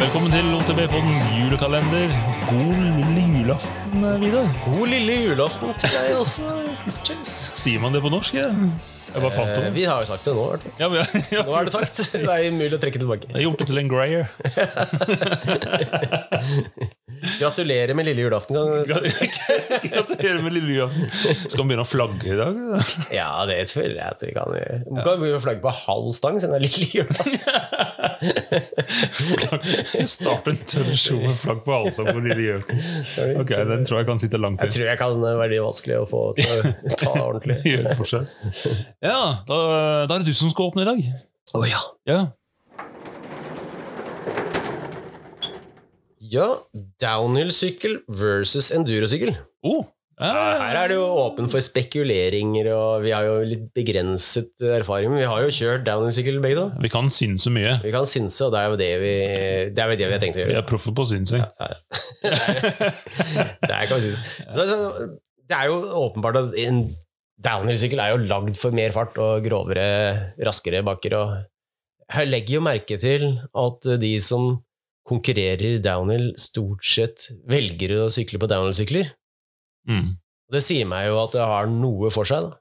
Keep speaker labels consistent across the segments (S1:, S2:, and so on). S1: Velkommen til OTB-poddens julekalender. God lille julaften, eh, Vidar.
S2: God lille julaften til deg også, James.
S1: Sier man det på norsk? Jeg, jeg bare fant
S2: Eh,
S1: det.
S2: Vi har jo sagt det nå. i hvert fall.
S1: Ja, men, ja.
S2: Eh, Nå er det sagt. Det er umulig å trekke tilbake.
S1: Jeg har gjort det til en grayer.
S2: Gratulerer med lille julaften. kan du-
S1: Gratulerer med lille julaften. Skal vi begynne å flagge i dag? da?
S2: Ja, det føler jeg at vi kan gjøre. Du kan begynne å flagge på halv stang siden det er lille julaften.
S1: Starte en tørr show med flagg på halsen på lille julaften. Ok, Den tror jeg kan sitte langt
S2: Jeg
S1: til.
S2: tror jeg kan eh, være veldig vanskelig å få til å ta ordentlig.
S1: Gjøre forskjell. Ja, da, da er det du som skal åpne i dag.
S2: Å ja.
S1: Ja.
S2: Ja, downhill-sykkel versus endurosykkel.
S1: Oh, ja.
S2: Her er det jo åpen for spekuleringer, og vi har jo litt begrenset erfaring. Men vi har jo kjørt downhill-sykkel begge to.
S1: Vi kan synse mye.
S2: Vi kan synse, og det er jo det vi, det er jo det vi har tenkt å gjøre.
S1: Vi er proffe på synsing.
S2: Det er kanskje Det er- Det er jo åpenbart at en downhill-sykkel er jo lagd for mer fart og grovere, raskere bakker. Og jeg legger jo merke til at de som konkurrerer i downhill, stort sett velger å sykle på downhill-sykler.
S1: Mm.
S2: Det sier meg jo at det har noe for seg. da.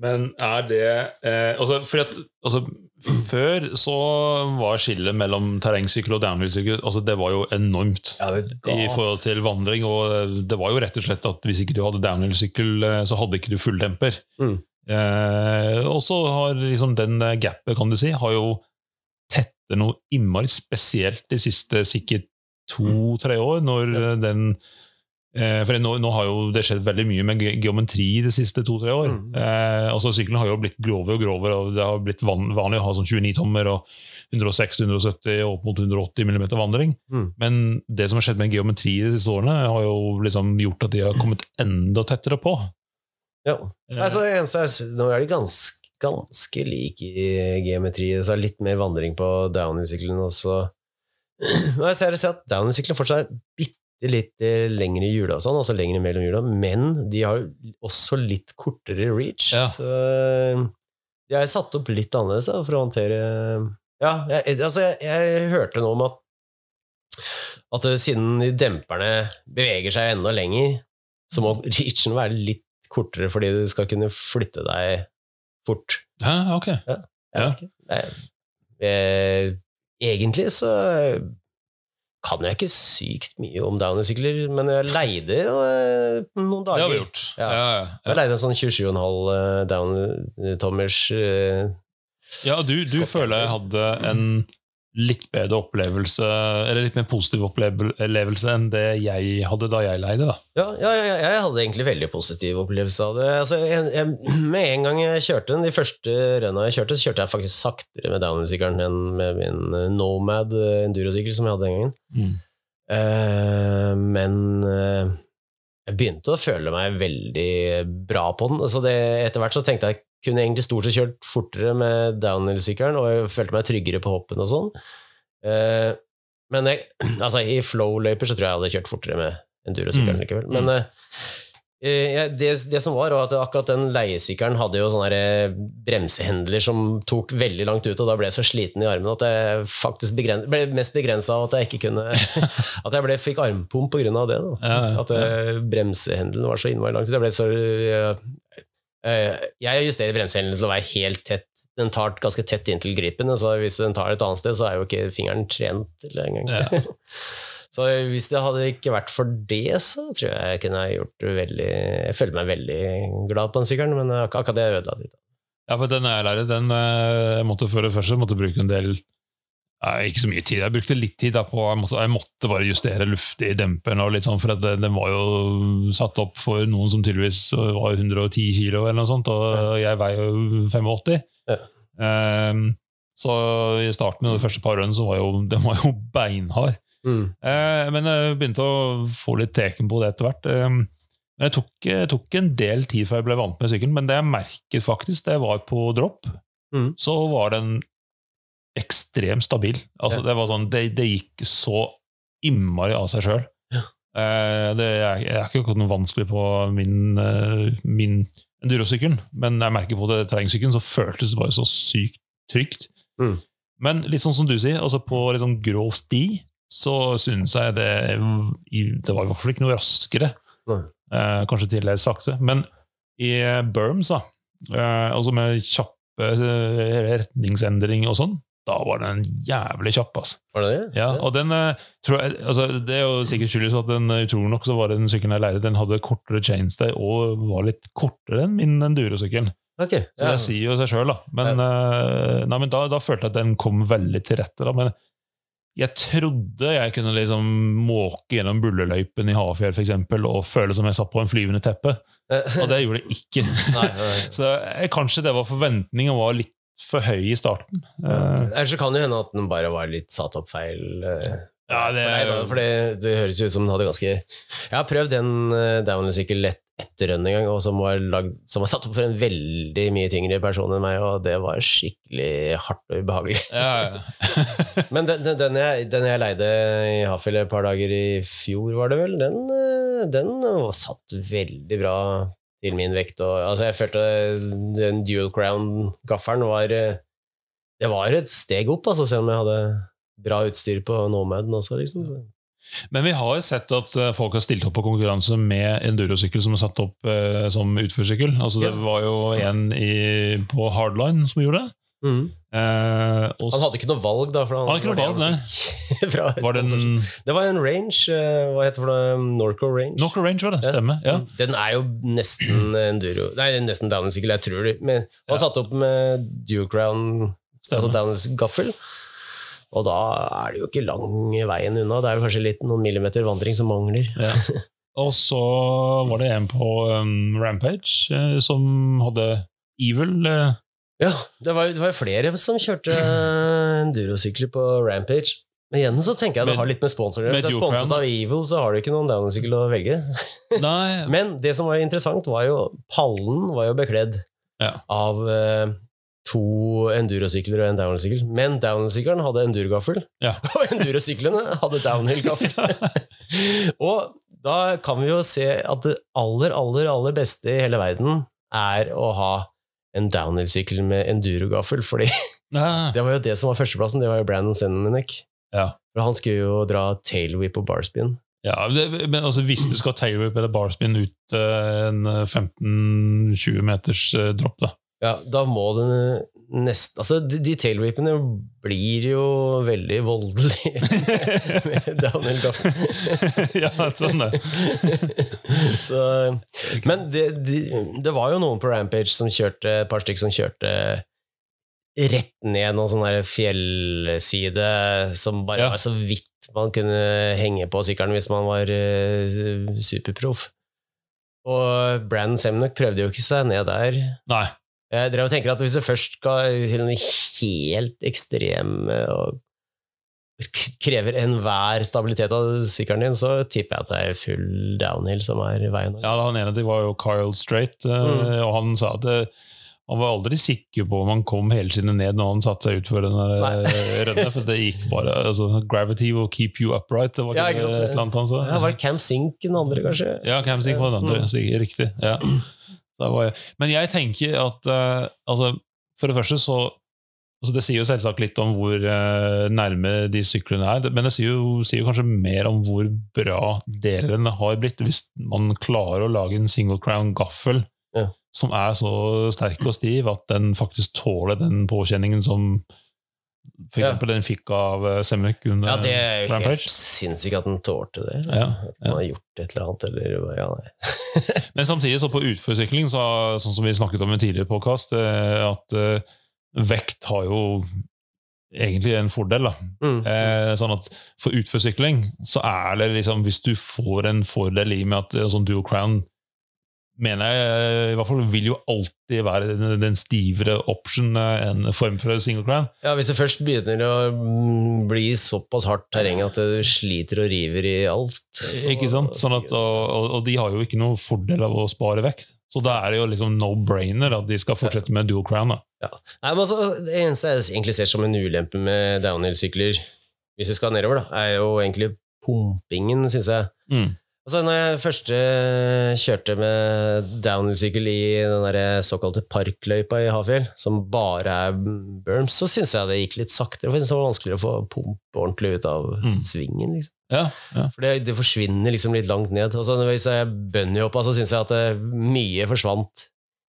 S1: Men er det eh, altså, fordi at, altså, Før så var skillet mellom terrengsykkel og downhill-sykkel altså, Det var jo enormt i forhold til vandring. Og det var jo rett og slett at hvis ikke du hadde downhill-sykkel, eh, så hadde ikke du fulldemper.
S2: Mm.
S1: Eh, og så har liksom den eh, gapet, kan du si, har jo tettet noe innmari spesielt de siste sikkert
S2: Mm.
S1: to-tre år, når eh, den Eh, for nå, nå har jo det skjedd veldig mye med ge- geometri de siste to-tre år.
S2: Mm.
S1: Eh, altså Sykkelen har jo blitt grovere og grovere, og det har blitt van vanlig å ha sånn 29-tommer og 160-170 og opp mot 180 mm vandring.
S2: Mm.
S1: Men det som har skjedd med geometri de siste årene, har jo liksom gjort at de har kommet enda tettere på.
S2: Ja.
S1: Eh,
S2: Altså, det eneste er, nå er de ganske, ganske like i geometri, så er det litt mer vandring på downhill-sykkelen også. Men jeg ser, jeg ser at downhill-sykkelen fortsatt er bitte litt eh, lengre i hjula og sånn, altså lengre mellom hjula, men de har jo også litt kortere reach.
S1: Ja.
S2: Så eh, de er satt opp litt annerledes da, for å håndtere Ja, jeg, altså, jeg, jeg hørte noe om at at eh, siden de demperne beveger seg enda lenger, så
S1: Mm.
S2: må reachen være litt kortere fordi du skal kunne flytte deg fort.
S1: Eh, Hæ, ok.
S2: Jeg vet ikke. Nei. Eh, Egentlig så kan jeg ikke sykt mye om downhill-sykler, men jeg leide jo eh, noen
S1: Det
S2: dager.
S1: har vi gjort.
S2: Ja.
S1: Ja, ja,
S2: Jeg leide en sånn 27,5 eh, down-tommers eh,
S1: ja. ja du, du
S2: Scott
S1: føler jeg hadde en litt bedre opplevelse, eller litt mer positiv opplevelse enn det jeg hadde da jeg leide. da.
S2: Ja, ja, ja, jeg hadde egentlig veldig positiv opplevelse av det. Altså, jeg, jeg, med en gang jeg kjørte den, de første rønna jeg kjørte, så kjørte jeg faktisk saktere med downhill-sykkelen enn med min eh, Nomad eh, enduro-sykkel som jeg hadde den gangen. Eh, men eh, jeg begynte å føle meg veldig bra på den. Altså det, etter hvert så tenkte jeg kunne egentlig stort sett kjørt fortere med downhill-sykkelen, og jeg følte meg tryggere på hoppen og sånn. Eh, men jeg, altså, i flow-løyper så tror jeg jeg hadde kjørt fortere med enduro-sykkelen
S1: Mm.
S2: likevel. Men eh, eh, jeg- det, det som var, var at akkurat den leiesykkelen hadde jo sånne der, eh, bremsehendler som tok veldig langt ut, og da ble jeg så sliten i armen at jeg faktisk begren, ble mest begrensa av at jeg ikke kunne At jeg ble, fikk armpump på grunn av det. da
S1: Ja,
S2: at eh, bremsehendelen var så innmari langt ut. Jeg, ble så, eh, eh, jeg justerer bremsehendelen til å være helt tett. Den tar ganske tett inntil gripen, så hvis den tar et annet sted, så er jo ikke fingeren trent til det engang.
S1: Ja.
S2: så hvis det hadde ikke vært for det, så tror jeg jeg kunne ha gjort det veldig Jeg følte meg veldig glad på den sykkelen, men ak akkurat det ødela litt.
S1: Ja, for den jeg lærte, den eh, jeg måtte før og først, jeg måtte bruke en del Nei, ikke så mye tid. Jeg brukte litt tid da på Jeg måtte, jeg måtte bare justere luft i demperen, og litt sånn, for at det- den var jo satt opp for noen som tydeligvis var 110 kilo, eller noe sånt, og jeg veier jo 85.
S2: Ja.
S1: Ehm, så i starten av de første par rundene så var jo den var jo beinhard. Eh, men jeg begynte å få litt teken på det etter hvert. Eh, men jeg tok, jeg tok en del tid før jeg ble vant med sykkelen, men det jeg merket faktisk, det var på dropp,
S2: Mm.
S1: så var den ekstremt stabil. Altså,
S2: Ja.
S1: det, var sånn, det, det gikk så innmari av seg sjøl.
S2: Ja.
S1: Eh, det er, jeg er ikke akkurat noe vanskelig på min, eh, min endurosykkel, men jeg merker på det terrengsykkelen, så føltes det bare så sykt trygt.
S2: Mm.
S1: Men litt sånn som du sier, altså på litt sånn grov sti, så synes jeg det Det var i hvert fall ikke noe raskere.
S2: Nei.
S1: Eh, kanskje tidligere sakte. Men i berms, da, eh, altså med kjappe eh, retningsendringer og sånn, da var den jævlig kjapp, altså.
S2: Var det det?
S1: Ja, og den eh, tror jeg, altså, Det er jo sikkert skyldes at den eh, utrolig nok så var den sykkelen jeg leide, den hadde kortere chainstay og var litt kortere enn min enduro-sykkel.
S2: Ok.
S1: Så
S2: Ja.
S1: det sier jo seg sjøl, da. Men, eh, nei, men da, da følte jeg at den kom veldig til rette. da, men jeg trodde jeg kunne liksom måke gjennom bulleløypen i Hafjell for eksempel, og føle som jeg satt på en flyvende teppe, og det gjorde jeg ikke.
S2: Nei, nei.
S1: Så eh, kanskje det var forventningen var litt for høy i starten. Eh,
S2: Ellers så kan det hende at den bare var litt satt opp feil. eh,
S1: Ja, det-
S2: for, deg, da, for det, det høres jo ut som den hadde ganske Jeg har prøvd en eh, downhill-sykkel lett etter en gang, og som var, lagd, som var satt opp for en veldig mye tyngre person enn meg, og det var skikkelig hardt og ubehagelig.
S1: ja, ja.
S2: Men den, den, den, jeg, den jeg leide i Hafjell et par dager i fjor, var det vel, den, eh, den var satt veldig bra til min vekt. Og, altså, jeg følte den dual crown-gaffelen var eh, Det var et steg opp, altså, selv om jeg hadde bra utstyr på Nomaden også, liksom. Så.
S1: Men vi har jo sett at eh, folk har stilt opp på konkurranse med endurosykkel som er satt opp eh, som utførsykkel. Altså, det
S2: Ja.
S1: var jo en i, på hardline som gjorde det.
S2: Mm.
S1: Eh, og
S2: Han hadde ikke noe valg, da. For han,
S1: Han hadde ikke noe valg, nei.
S2: Fra-
S1: var det en
S2: det var en range. eh, Hva heter det for noe? Norco range.
S1: Knocker Range, var det? Stemmer. Ja.
S2: Den er jo nesten eh, enduro Nei, det er nesten downhill-sykkel, jeg tror det. Men han
S1: Ja.
S2: satt opp med dual crown, altså
S1: Stemmer.
S2: downhill-gaffel. Og da er det jo ikke lang veien unna. Det er jo kanskje litt noen millimeter vandring som mangler.
S1: Ja. Og så var det en på um, Rampage eh, som hadde Evil eh,
S2: Ja, det var, det var jo flere som kjørte eh, endurosykler på Rampage. Men igjen så tenker jeg det
S1: Med-
S2: har litt med sponsor å gjøre.
S1: med
S2: Hvis det er
S1: dual crown.
S2: sponset av Evil, så har du ikke noen downhill-sykkel å velge.
S1: Nei,
S2: Men det som var interessant, var jo pallen var jo bekledd
S1: Ja.
S2: av eh, to endurosykler og en downhill-sykkel. Men downhill-sykkelen hadde endurgaffel,
S1: Ja.
S2: og endurosyklene hadde downhill-gaffel. og da kan vi jo se at det aller, aller, aller beste i hele verden er å ha en downhill-sykkel med endurogaffel, fordi
S1: nei.
S2: det var jo det som var førsteplassen, det var jo Brandon Sennenek.
S1: Ja.
S2: For han skulle jo dra tailwhip og barspin.
S1: Ja, det, men altså, hvis du skal tailwhip eller barspin ut eh, en eh, 15-20 meters eh, dropp, da.
S2: Ja, da må du nest, Altså, de, de tailwhipene blir jo veldig voldelige med Daniel Gaffel.
S1: ja, sånn det.
S2: Så, men det, de, det var jo noen på Rampage som kjørte, et par stykker som kjørte rett ned noen sånn der fjellside som bare
S1: Ja.
S2: var så vidt man kunne henge på sykkelen hvis man var eh, superproff. Og Brann Semnok prøvde jo ikke seg ned der.
S1: Nei.
S2: Jeg drev og tenker at hvis du først skal til noe helt ekstrem eh, og k- krever enhver stabilitet av sykkelen din, så tipper jeg at det er full downhill som er veien.
S1: Ja, han ene de var jo Kyle Strait, eh,
S2: Mm.
S1: og han sa at eh, han var aldri sikker på om han kom hele tiden ned når han satte seg utfor den der, eh, rønne, for det gikk bare altså, Gravity will keep you upright, det var
S2: Ja,
S1: ikke,
S2: ikke sant?
S1: det et eller annet han sa.
S2: Ja, var det Camp Sink den andre, kanskje?
S1: Ja, Cam Sink var den andre. sikkert, Riktig. Ja. Da var jeg. Men jeg tenker at eh, altså, For det første så altså Det sier jo selvsagt litt om hvor eh, nærme de syklene er, men det sier jo, sier jo kanskje mer om hvor bra delene har blitt, hvis man klarer å lage en single crown gaffel
S2: Ja.
S1: som er så sterk og stiv at den faktisk tåler den påkjenningen som for
S2: Ja.
S1: eksempel den fikk av uh, Semnek under
S2: Ja, det er jo
S1: Rampage.
S2: helt sinnssykt at den tålte det.
S1: Ja,
S2: At man har gjort et eller annet, eller ja, nei.
S1: Men samtidig så på utførsykling, så, sånn som vi snakket om i en tidligere podkast, at eh, vekt har jo egentlig en fordel. da.
S2: Mm.
S1: Eh, sånn at for utførsykling, så er det liksom Hvis du får en fordel i med at eh, sånn dual crown mener jeg eh, i hvert fall vil jo alltid være den- den stivere option eh, en form for single crown.
S2: Ja, Hvis det først begynner å mm, bli såpass hardt terreng at du sliter og river i alt så-
S1: Ikke sant? Sånn at, og, og- og de har jo ikke noe fordel av å spare vekt. Så da er det jo liksom no-brainer at de skal fortsette med dual crown. da.
S2: Nei, men altså, Det eneste jeg egentlig ser som en ulempe med downhill-sykler, hvis vi skal nedover, da, er jo egentlig pumpingen, syns jeg.
S1: Mm.
S2: Altså, når jeg først eh, kjørte med downhill-sykkel i den der såkalte parkløypa i Hafjell, som bare er berms, så syns jeg det gikk litt saktere. For jeg synes det var vanskeligere å få pumpe ordentlig ut av
S1: Mm.
S2: svingen. liksom.
S1: Ja, ja.
S2: For det, det forsvinner liksom litt langt ned. Altså, hvis jeg bønner opp, så syns jeg at eh, mye forsvant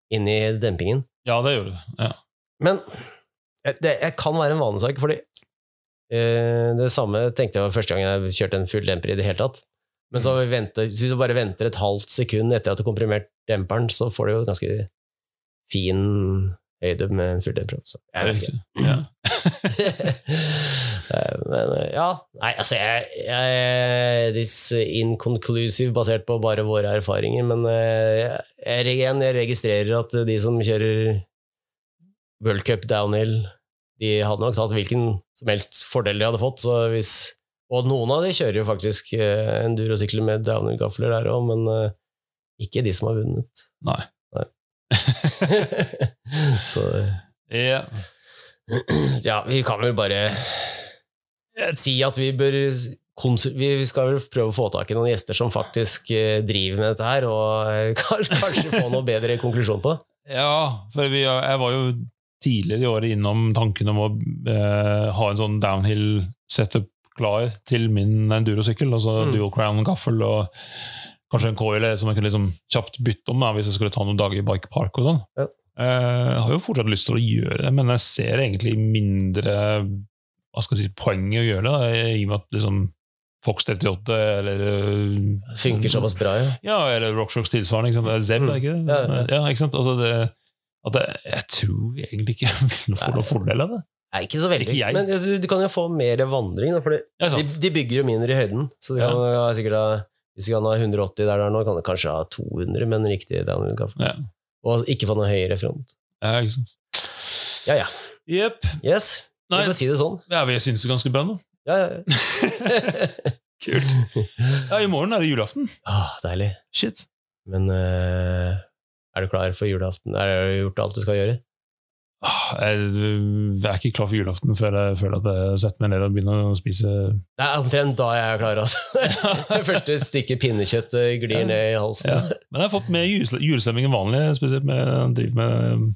S2: inn i dempingen.
S1: ja det gjør det. Ja.
S2: Men eh, det jeg kan være en vanesak, fordi eh, det samme tenkte jeg første gang jeg kjørte en full demper i det hele tatt. Men så har vi ventet, hvis du bare venter et halvt sekund etter at du har komprimert demperen, så får du jo ganske fin høyde med en full demper. Så
S1: Det
S2: jeg
S1: er
S2: vet ikke.
S1: riktig. Ja.
S2: Eh, Men eh, ja Nei, altså, jeg, jeg This inconclusive basert på bare våre erfaringer, men eh, jeg, jeg, igjen, jeg registrerer at de som kjører World Cup downhill, de hadde nok tatt hvilken som helst fordel de hadde fått. Så hvis, og noen av de kjører jo faktisk eh, endurosykler med downhill-gafler der òg, men eh, ikke de som har vunnet.
S1: Nei.
S2: så eh,
S1: Ja.
S2: ja, vi kan vel bare eh, si at vi bør konsul- vi vi skal vel prøve å få tak i noen gjester som faktisk eh, driver med dette her, og eh, kan- kanskje få noe bedre konklusjon på det.
S1: Ja, for vi, jeg var jo tidligere i året innom tanken om å eh, ha en sånn downhill-setup klar til min endurosykkel, altså
S2: Mm.
S1: dual crown gaffel og kanskje en coil som jeg kunne liksom kjapt bytte om da, hvis jeg skulle ta noen dager i bike park og sånn.
S2: Ja.
S1: Eh, jeg har jo fortsatt lyst til å gjøre det, men jeg ser egentlig mindre hva skal jeg si, poeng i å gjøre det, da, i og med at liksom Fox 38 E eller eh,
S2: Funker såpass bra, ja.
S1: ja, eller Rockshocks tilsvarende. Ikke sant? Det er Zeb, er det ikke det?
S2: Mm. Ja,
S1: Ja, ikke sant? Altså, det, at det, jeg tror egentlig ikke jeg vil få noen fordel av det.
S2: Nei, ikke så veldig.
S1: Ikke jeg.
S2: Men altså, du kan jo få mer vandring, da, for de,
S1: Ja, sant.
S2: de bygger jo mindre i høyden. Så de kan ha sikkert ha, hvis de kan ha 180 der, der nå, kan de kanskje ha 200, men riktig downhill gaffel.
S1: Ja.
S2: Og ikke få noe høyere front.
S1: Ja, ikke sant?
S2: Ja, ja.
S1: Jepp.
S2: Yes,
S1: Nei,
S2: vi får si det sånn.
S1: ja, vi synes det er ganske bra nå.
S2: Ja, ja.
S1: Kult. Ja, I morgen er det julaften.
S2: ah, deilig.
S1: Shit.
S2: Men eh, er du klar for julaften? Er du gjort alt du skal gjøre?
S1: Ah, Jeg, jeg er ikke klar for julaften før jeg føler at jeg setter meg ned og begynner å spise
S2: Det er omtrent da jeg er klar, altså. Det første stykket pinnekjøtt eh, glir
S1: Ja.
S2: ned i halsen.
S1: Ja. Men jeg har fått mer jule- julestemning enn vanlig, spesielt med jeg driver med,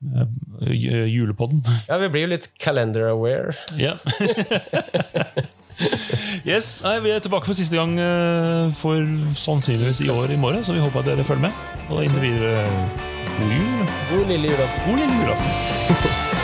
S1: med eh, julepodden.
S2: Ja, vi blir jo litt calendar-aware.
S1: Ja. yes, nei, Vi er tilbake for siste gang eh, for sannsynligvis i år i morgen, så vi håper at dere følger med. Og inntil videre god jul.
S2: God lille julaften.
S1: God lille julaften.